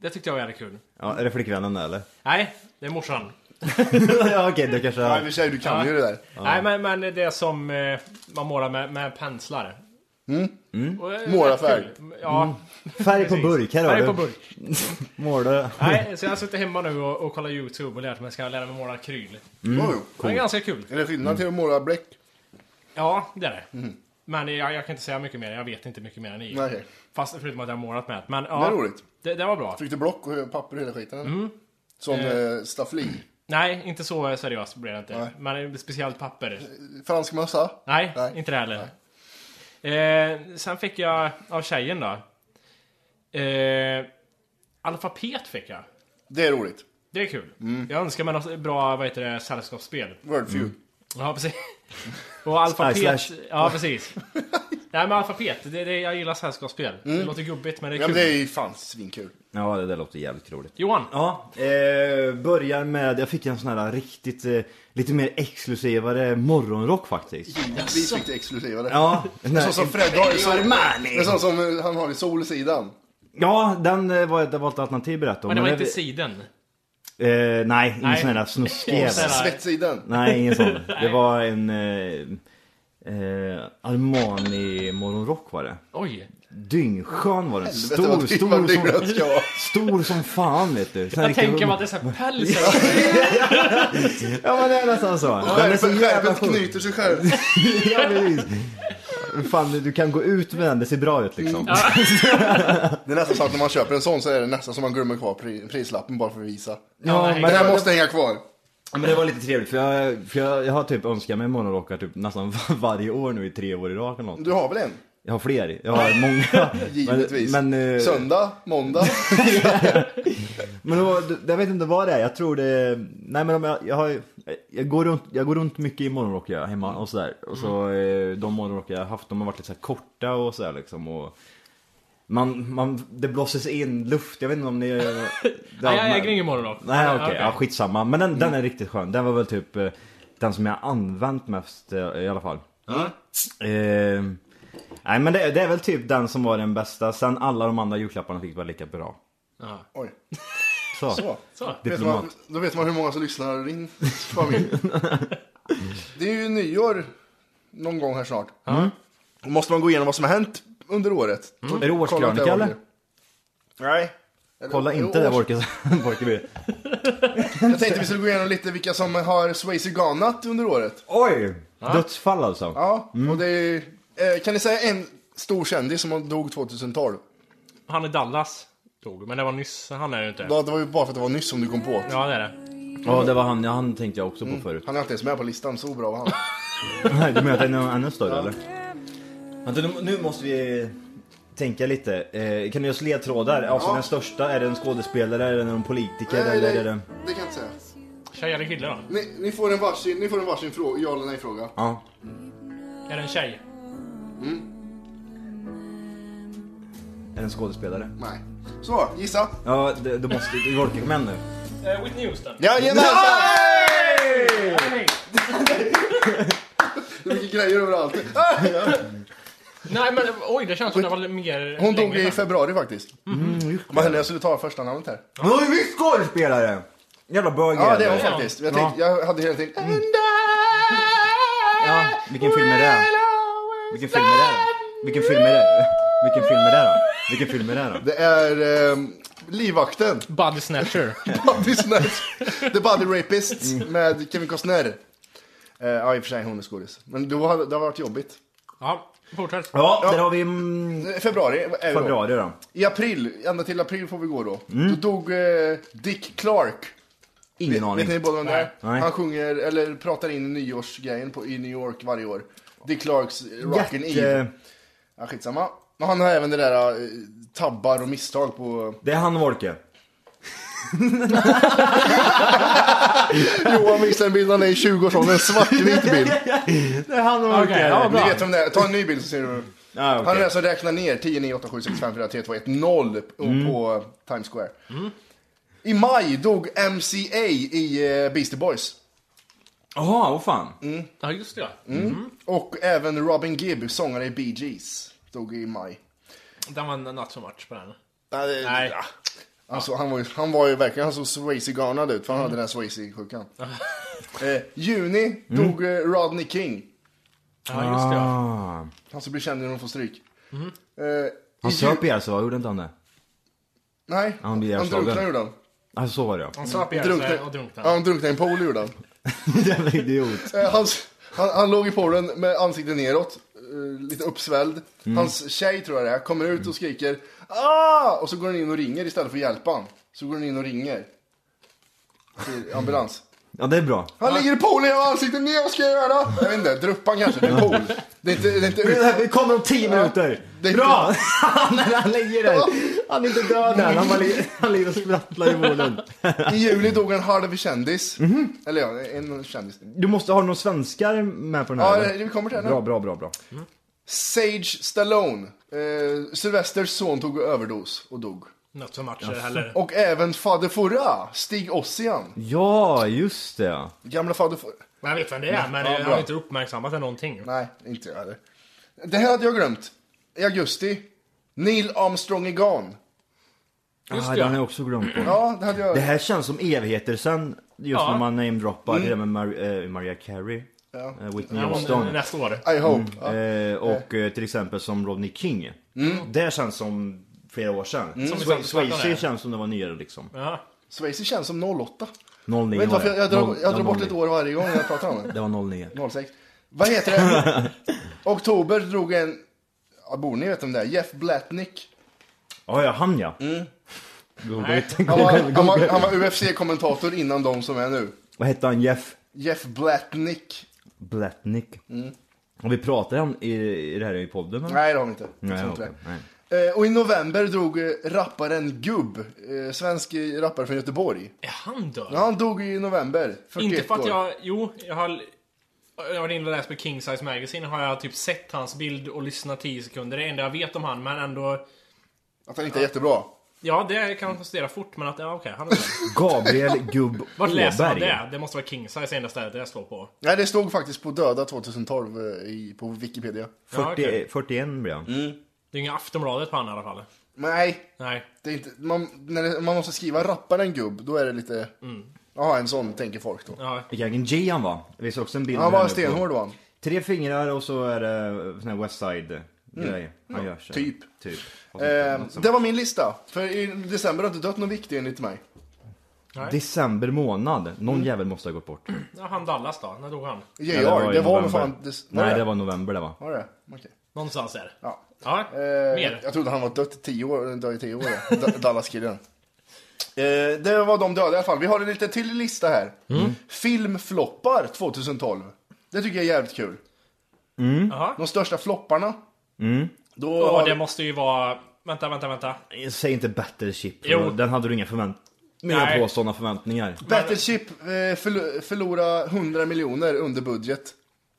Speaker 6: Det tyckte jag var jävligt kul.
Speaker 1: Ja, är det flickvännen där, eller?
Speaker 6: Nej, det är morsan.
Speaker 1: ja, okej, du kanske...
Speaker 4: Ja, i och för sig, du kan
Speaker 6: Ja.
Speaker 4: ju det där.
Speaker 6: Nej, men, men det är som eh, man målar med, med penslar.
Speaker 4: Mm.
Speaker 6: Och det är
Speaker 4: Måla
Speaker 6: rätt
Speaker 4: färg.
Speaker 6: kul. Ja.
Speaker 1: Mm. Färg på
Speaker 6: Precis.
Speaker 1: burk, här har
Speaker 6: Färg
Speaker 1: du.
Speaker 6: på burk.
Speaker 1: Måla.
Speaker 6: Nej, så jag har suttit hemma nu och, och kollat YouTube och lärt mig att jag ska lära mig måla akryl.
Speaker 4: Mm.
Speaker 6: Det är ganska kul.
Speaker 4: Är det skillnad till att måla bläck?
Speaker 6: Ja, det är det.
Speaker 1: Mm.
Speaker 6: Men jag, jag kan inte säga mycket mer. Jag vet inte mycket mer än ni.
Speaker 4: Nej.
Speaker 6: Fast förutom att jag har målat med det. Men, ja,
Speaker 4: Det är roligt.
Speaker 6: Det, det var bra.
Speaker 4: Fick du block och papper och hela skiten?
Speaker 6: Mm.
Speaker 4: Som
Speaker 6: Eh.
Speaker 4: eh, staffli.
Speaker 6: Nej, inte så seriöst blev det inte. Men speciellt papper.
Speaker 4: Fransk mössa?
Speaker 6: Nej, inte det heller. Eh, sen fick jag av tjejen då. Eh, alfabet fick jag.
Speaker 4: Det är roligt.
Speaker 6: Det är kul.
Speaker 4: Mm.
Speaker 6: Jag önskar mig något bra vad heter det, sällskapsspel.
Speaker 4: Wordfeud.
Speaker 6: Ja, precis. Och alfabet.
Speaker 4: Slash, slash.
Speaker 6: Ja, precis. Nej, men alfabet. Det, det, jag gillar sällskapsspel. Det
Speaker 4: Mm.
Speaker 6: låter gubbigt, men det är
Speaker 4: Ja,
Speaker 6: kul.
Speaker 4: men det är ju fan svinkul.
Speaker 1: Ja, det där låter jävligt roligt.
Speaker 6: Johan?
Speaker 1: Ja, eh, börjar med, jag fick en sån här riktigt, eh, lite mer exklusivare morgonrock faktiskt.
Speaker 4: Givetvis fick det exklusivare.
Speaker 1: Ja.
Speaker 4: En sån som Fred har i
Speaker 1: Armani.
Speaker 4: sol- En sån som eh, han har i Solsidan.
Speaker 1: Ja, den eh, var, det var ett alternativ berättade
Speaker 6: Men det var inte siden.
Speaker 1: Eh, nej, ingen
Speaker 6: Nej.
Speaker 1: sån här snuskig jävel.
Speaker 4: Svettsidan.
Speaker 1: Nej, ingen sån. Det var en eh, eh, Armani morgonrock var det.
Speaker 6: Oj.
Speaker 1: Dyngskön var den.
Speaker 4: Helvete,
Speaker 1: Stor,
Speaker 4: vad
Speaker 1: stor,
Speaker 4: dyr- vad dyr
Speaker 1: stor,
Speaker 4: den ska vara.
Speaker 1: stor som fan vet du. Sån här
Speaker 6: Jag
Speaker 1: riktig-
Speaker 6: tänker mig att det är såhär päls.
Speaker 1: Ja men det är nästan så.
Speaker 4: Och
Speaker 1: Den är så
Speaker 4: skärpet,
Speaker 1: jävla
Speaker 4: skärpet
Speaker 1: sjuk.
Speaker 4: knyter sig själv.
Speaker 1: Ja, precis. Fan, du- du kan gå ut med den, det ser bra ut
Speaker 4: Mm.
Speaker 1: liksom.
Speaker 4: Det är nästan så att när man köper en sån så är det nästan som man glömmer kvar pri- prislappen bara för att visa.
Speaker 1: Ja, men-
Speaker 4: den här måste hänga kvar.
Speaker 1: Ja, men det var lite trevligt för jag, för jag, jag har typ önskat mig morgonrockar typ nästan var- varje år nu i tre år i rad eller något.
Speaker 4: Du har väl en?
Speaker 1: Jag har fler, jag har många.
Speaker 4: Givetvis.
Speaker 1: Men, men, eh,
Speaker 4: Söndag, måndag.
Speaker 1: men då, jag vet inte vad det är, jag tror det, nej men om jag, jag, har, jag, går, runt, jag går runt mycket i morgonrock jag, hemma och sådär. Och så
Speaker 4: Mm.
Speaker 1: eh, de morgonrockar jag har haft, de har varit lite så här korta och sådär liksom. Och, man, man, det blåses in luft, jag vet inte om ni...
Speaker 6: Nej, jag äger ingen morgonrock.
Speaker 1: Nej okej, Mm. ja, skitsamma. Men den, den är riktigt skön. Den var väl typ eh, den som jag använt mest eh, i alla fall. Eh, nej men det, det är väl typ den som var den bästa. Sen alla de andra julklapparna fick vara lika bra.
Speaker 6: Ja.
Speaker 4: Oj.
Speaker 1: Så.
Speaker 4: Så. Vet
Speaker 1: Diplomat.
Speaker 4: man, då vet man hur många som lyssnar i din familj. Det är ju nyår någon gång här snart. Mm. Då måste man gå igenom vad som har hänt under året.
Speaker 1: Mm.
Speaker 4: Och
Speaker 1: Är det
Speaker 4: kolla
Speaker 1: årskrönika,
Speaker 4: att det var
Speaker 1: eller?
Speaker 4: det. Nej. Eller-
Speaker 1: Kolla
Speaker 4: jo,
Speaker 1: inte det
Speaker 4: års-
Speaker 1: Borke Borkeby.
Speaker 4: Jag tänkte vi skulle gå igenom lite vilka som har swayze ganat under året.
Speaker 1: Oj! Dödsfall alltså.
Speaker 4: Ja, och det är, eh, Kan ni säga en stor kändis som dog 2012?
Speaker 6: Han i Dallas dog, men det var nyss. Han är ju inte.
Speaker 4: Ja, det var ju bara för att det var nyss som du kom på.
Speaker 6: Ja, det är det.
Speaker 1: Ja det var han, ja, han tänkte jag också på förut.
Speaker 4: Han är inte ens med på listan, så bra var han.
Speaker 1: Nej, du menar att den är ännu större eller? Vänta, nu, nu måste vi tänka lite. Eh, kan du ge oss ledtrådar? Alltså den största, är det en skådespelare, är det en politiker
Speaker 4: Nej,
Speaker 1: eller
Speaker 4: nej.
Speaker 1: är det...
Speaker 4: Det kan jag inte säga.
Speaker 6: Tjej eller kille då?
Speaker 4: Ni, ni får en varsin, ni får en varsin fråga, ja eller nej fråga.
Speaker 1: Ja.
Speaker 6: Är det en tjej?
Speaker 1: Är det en skådespelare?
Speaker 4: Nej. Så, gissa.
Speaker 1: Ja, det, då måste du... Volker, kom igen nu.
Speaker 6: Eh, Whitney Houston.
Speaker 4: Jajamensan!
Speaker 6: Nej!
Speaker 4: Det är mycket grejer överallt.
Speaker 6: Nej, men oj, det känns som det var mer...
Speaker 4: Hon dog
Speaker 6: längre
Speaker 4: i
Speaker 6: sedan.
Speaker 4: februari faktiskt. Vad hände? Jag skulle ta första namnet här.
Speaker 1: Hon var ju visst skådespelare! Jävla bög
Speaker 4: Ja, det
Speaker 1: jävel.
Speaker 4: var faktiskt. Jag, tänkte, jag hade hela tiden...
Speaker 1: Ja, vilken film är det? Vilken film är det? Vilken film är det? Vilken film är det då? Vilken film är det då?
Speaker 4: Det är ehm, Livvakten.
Speaker 6: Body Snatcher.
Speaker 4: Body Snatch. The Body Rapist med Kevin Costner. Eh, ja, i och för sig hon är skådis. Men då hade, det har varit jobbigt.
Speaker 6: Ja, fortsätt.
Speaker 1: Ja, där har vi mm,
Speaker 4: Eh, Februari är det då.
Speaker 1: februari då.
Speaker 4: I april, ända till april får vi gå då. Då dog eh, Dick Clark.
Speaker 1: Ingen
Speaker 4: vet,
Speaker 1: aning.
Speaker 4: Vet ni båda vem det är?
Speaker 1: Nej.
Speaker 4: Han sjunger, eller pratar in nyårsgrejen på, i New York varje år. Dick Clarks eh, Rockin' Eve.
Speaker 1: Jätte...
Speaker 4: Ja, skitsamma. Men han har även det där eh, tabbar och misstag på...
Speaker 1: Det är han Volke.
Speaker 4: Johan visar en bild han är i 20-årsåldern, en svartvit bild.
Speaker 1: Det är han Volke.
Speaker 6: Okej, ja,
Speaker 4: Ni
Speaker 6: bra.
Speaker 4: vet vem det är. Ta en ny bild så ser du.
Speaker 1: Ja,
Speaker 4: Han är
Speaker 1: okej.
Speaker 4: den som räknar ner 10, 9, 8, 7, 6, 5, 4, 3, 2, 1, 0 på på Times Square. I maj dog MCA i eh, Beastie Boys.
Speaker 1: Jaha, vad fan.
Speaker 6: Ja, just det. ja.
Speaker 4: Mm. Och även Robin Gibb, sångare i Bee Gees, dog i maj.
Speaker 6: Den var en not so much på den.
Speaker 4: Nej. det-
Speaker 6: Nej.
Speaker 4: ja. Alltså, han, var ju, han var ju verkligen, han såg Swayze-garnad ut för
Speaker 1: Mm.
Speaker 4: han hade den här Swayze-sjukan. eh, juni dog eh,
Speaker 1: Mm.
Speaker 4: Rodney King.
Speaker 6: Ja, just det. ja.
Speaker 1: Ah.
Speaker 4: Han som blir känd när de får stryk. Eh,
Speaker 1: Mm. Han
Speaker 4: i
Speaker 1: söp ihjäl
Speaker 4: ju-
Speaker 1: sig va? alltså, Gjorde inte han det?
Speaker 4: Nej,
Speaker 1: Han blir
Speaker 4: han
Speaker 1: ihjälslagen.
Speaker 4: drunknade gjorde han.
Speaker 1: Ja, så var det ja.
Speaker 6: Han slapp ihjäl sig och
Speaker 4: Drunknade.
Speaker 6: drunknade.
Speaker 4: Ja, han drunknade i en pool gjorde han.
Speaker 1: Jävla idiot.
Speaker 4: Eh, Hans, han, han låg i poolen med ansiktet neråt, eh, lite uppsvälld. Hans tjej, tror jag det är, kommer ut och skriker ah! Och så går hon in och ringer istället för att hjälpa han. Så går hon in och ringer. Till ambulans.
Speaker 1: Ja, det är bra.
Speaker 4: Han ligger i poolen i ansiktet ner, vad ska jag göra? Jag vet inte, druppan kanske, det är pool. Det är inte... Det är inte...
Speaker 1: Vi kommer om tio minuter. Bra! När han ligger där. Han är inte död än. Han, bara ligger- han ligger och sprattlar i poolen.
Speaker 4: I juli dog en halv kändis. Eller ja, en kändis.
Speaker 1: Du måste ha några svenskar med på den
Speaker 4: Ja,
Speaker 1: här. eller?
Speaker 4: vi kommer till det nu.
Speaker 1: Bra, bra, bra, bra.
Speaker 4: Sage Stallone. Eh, Sylvesters son tog överdos och dog.
Speaker 6: Något som matcher heller.
Speaker 4: Och även Fader Fora, Stig Ossian.
Speaker 1: Ja, just det.
Speaker 4: Gamla Fader Fora.
Speaker 6: Men jag vet vem det är, men
Speaker 4: Ja,
Speaker 6: jag
Speaker 4: bra.
Speaker 6: har inte uppmärksammat det någonting.
Speaker 4: Nej, inte jag heller. Det här hade jag glömt. I augusti. Neil Armstrong är gone.
Speaker 1: Just
Speaker 4: det,
Speaker 1: ah,
Speaker 4: ja.
Speaker 1: den har jag också glömt på.
Speaker 4: Ja, det hade jag.
Speaker 1: Det här känns som evigheter sen, just
Speaker 4: Ja.
Speaker 1: när man namedroppar
Speaker 4: Mm.
Speaker 1: det där med Mar- eh, Maria Carey.
Speaker 4: Ja.
Speaker 1: eh, Whitney
Speaker 4: Ja,
Speaker 1: Houston.
Speaker 4: nästa år. I hope. Ja.
Speaker 1: Eh, och eh, till exempel som Rodney King. Det känns som flera år sedan.
Speaker 4: Mm. Som vi
Speaker 1: Swa-
Speaker 4: satt och snackade om
Speaker 1: Swayze
Speaker 4: här.
Speaker 1: känns som det var nyare liksom.
Speaker 6: Ja.
Speaker 4: Swayze känns som 08.
Speaker 1: 09
Speaker 4: Vet du varför jag, jag drar,
Speaker 1: Noll-
Speaker 4: jag drar
Speaker 1: ja,
Speaker 4: bort ett Mm.
Speaker 1: 09.
Speaker 4: år varje gång jag pratar om det?
Speaker 1: Det var 09.
Speaker 4: 06. Vad heter det? Oktober drog en... Ja, borde ni veta om det är? Jeff Blatnick.
Speaker 1: Ja, ja, han ja.
Speaker 4: Mm.
Speaker 1: Googla ut.
Speaker 4: Han var, han var, han var UFC-kommentator innan de som är nu.
Speaker 1: Vad hette han? Jeff
Speaker 4: Jeff Blatnick.
Speaker 1: Blatnick.
Speaker 4: Mm.
Speaker 1: Har vi pratat om i, i det här i podden? eller?
Speaker 4: Nej, det har vi inte. Jag
Speaker 1: Nej,
Speaker 4: tror
Speaker 1: okej,
Speaker 4: inte
Speaker 1: nej.
Speaker 4: det. Eh, Och i november drog eh, rapparen Gubb, eh, svensk eh, rappare från Göteborg.
Speaker 6: Är han död?
Speaker 4: Ja, han dog i november, 41
Speaker 6: Inte för att
Speaker 4: år.
Speaker 6: jag... Jo, jag har... Jag var inne och läste på King Size Magazine har jag typ sett hans bild och lyssnat 10 sekunder. Det är det enda jag vet om han, men ändå...
Speaker 4: Att han inte är jättebra?
Speaker 6: Ja, det kan man konstatera fort, men att... Ja, okej, han är död.
Speaker 1: Gabriel Gubb
Speaker 6: Vart läser man
Speaker 1: Åberg.
Speaker 6: det? Det måste vara King Size enda stället jag slår på.
Speaker 4: Nej, det stod faktiskt på döda 2012 eh, i, på Wikipedia.
Speaker 1: 40, 41 blev han.
Speaker 4: Mm.
Speaker 6: Det är inga Aftonbladet på han i alla fall.
Speaker 4: Nej.
Speaker 6: Nej.
Speaker 4: Det är inte, man, när det, man måste skriva rapparen Gubb, då är det lite... Jaha, en sån tänker folk då.
Speaker 6: Mm. Ja.
Speaker 1: Vilken G han var. Det finns också en bild
Speaker 4: Han
Speaker 1: här
Speaker 4: var
Speaker 1: nu på-
Speaker 4: stenhård var han.
Speaker 1: Tre fingrar och så är det sån här Westside grej. Han
Speaker 4: Ja,
Speaker 1: gör sig.
Speaker 4: typ.
Speaker 1: typ. Och så-
Speaker 4: Eh,
Speaker 6: Mm.
Speaker 1: något som-
Speaker 4: det var min lista. För i december har inte dött något viktigt enligt mig.
Speaker 1: December månad. Någon
Speaker 4: Mm.
Speaker 1: jävel måste ha gått bort.
Speaker 6: Ja, han Dallas då? När dog han?
Speaker 4: JR,
Speaker 1: Eller i
Speaker 4: det var väl
Speaker 1: november.
Speaker 4: fan... Det, var
Speaker 1: Nej,
Speaker 4: det?
Speaker 1: det var november det var.
Speaker 4: Var det? Okej.
Speaker 6: Någonstans där.
Speaker 4: Ja.
Speaker 6: Ja,
Speaker 4: Eh,
Speaker 6: mer.
Speaker 4: Jag trodde han var dött i tio år, eller död i tio år. ja. Da- Dallas-killen. Eh, det var de döda i alla fall. Vi har en lite till lista här.
Speaker 6: Mm.
Speaker 4: Filmfloppar 2012. Det tycker jag är jävligt kul.
Speaker 1: Mm.
Speaker 4: De största flopparna.
Speaker 1: Mm.
Speaker 4: Då
Speaker 6: Åh,
Speaker 4: har
Speaker 6: det
Speaker 4: vi-
Speaker 6: måste ju vara... Vänta, vänta, vänta.
Speaker 1: Säg inte Battleship.
Speaker 6: Jo.
Speaker 1: Den hade du inga förväntningar
Speaker 6: Nej.
Speaker 1: på, sådana förväntningar.
Speaker 4: Battleship eh, förlo- förlorade 100 miljoner under budget.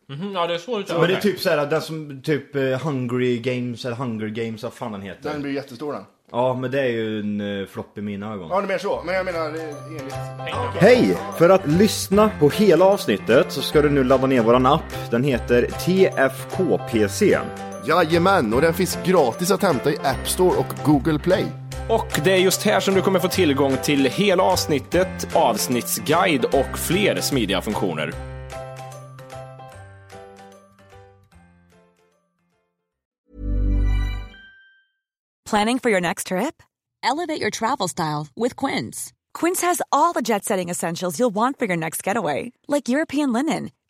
Speaker 6: Mhm, ja, det är så det
Speaker 1: Men det är typ såhär, den som typ eh, Hungry Games eller Hunger Games, vad fan den heter.
Speaker 4: Den blir jättestor den.
Speaker 1: Ja, men det är ju en eh, flopp i mina ögon.
Speaker 4: Ja, det är mer så. Men jag menar eh, enligt...
Speaker 1: Hej! För att lyssna på hela avsnittet så ska du nu ladda ner våran app. Den heter TFKPC.
Speaker 4: Jajamän, och den finns gratis att hämta i App Store och Google Play.
Speaker 9: Och det är just här som du kommer få tillgång till hela avsnittet, avsnittsguide och fler smidiga funktioner.
Speaker 10: Planning for your next trip? Elevate your travel style with Quince. Quince has all the jet setting essentials you'll want for your next getaway, like European linen,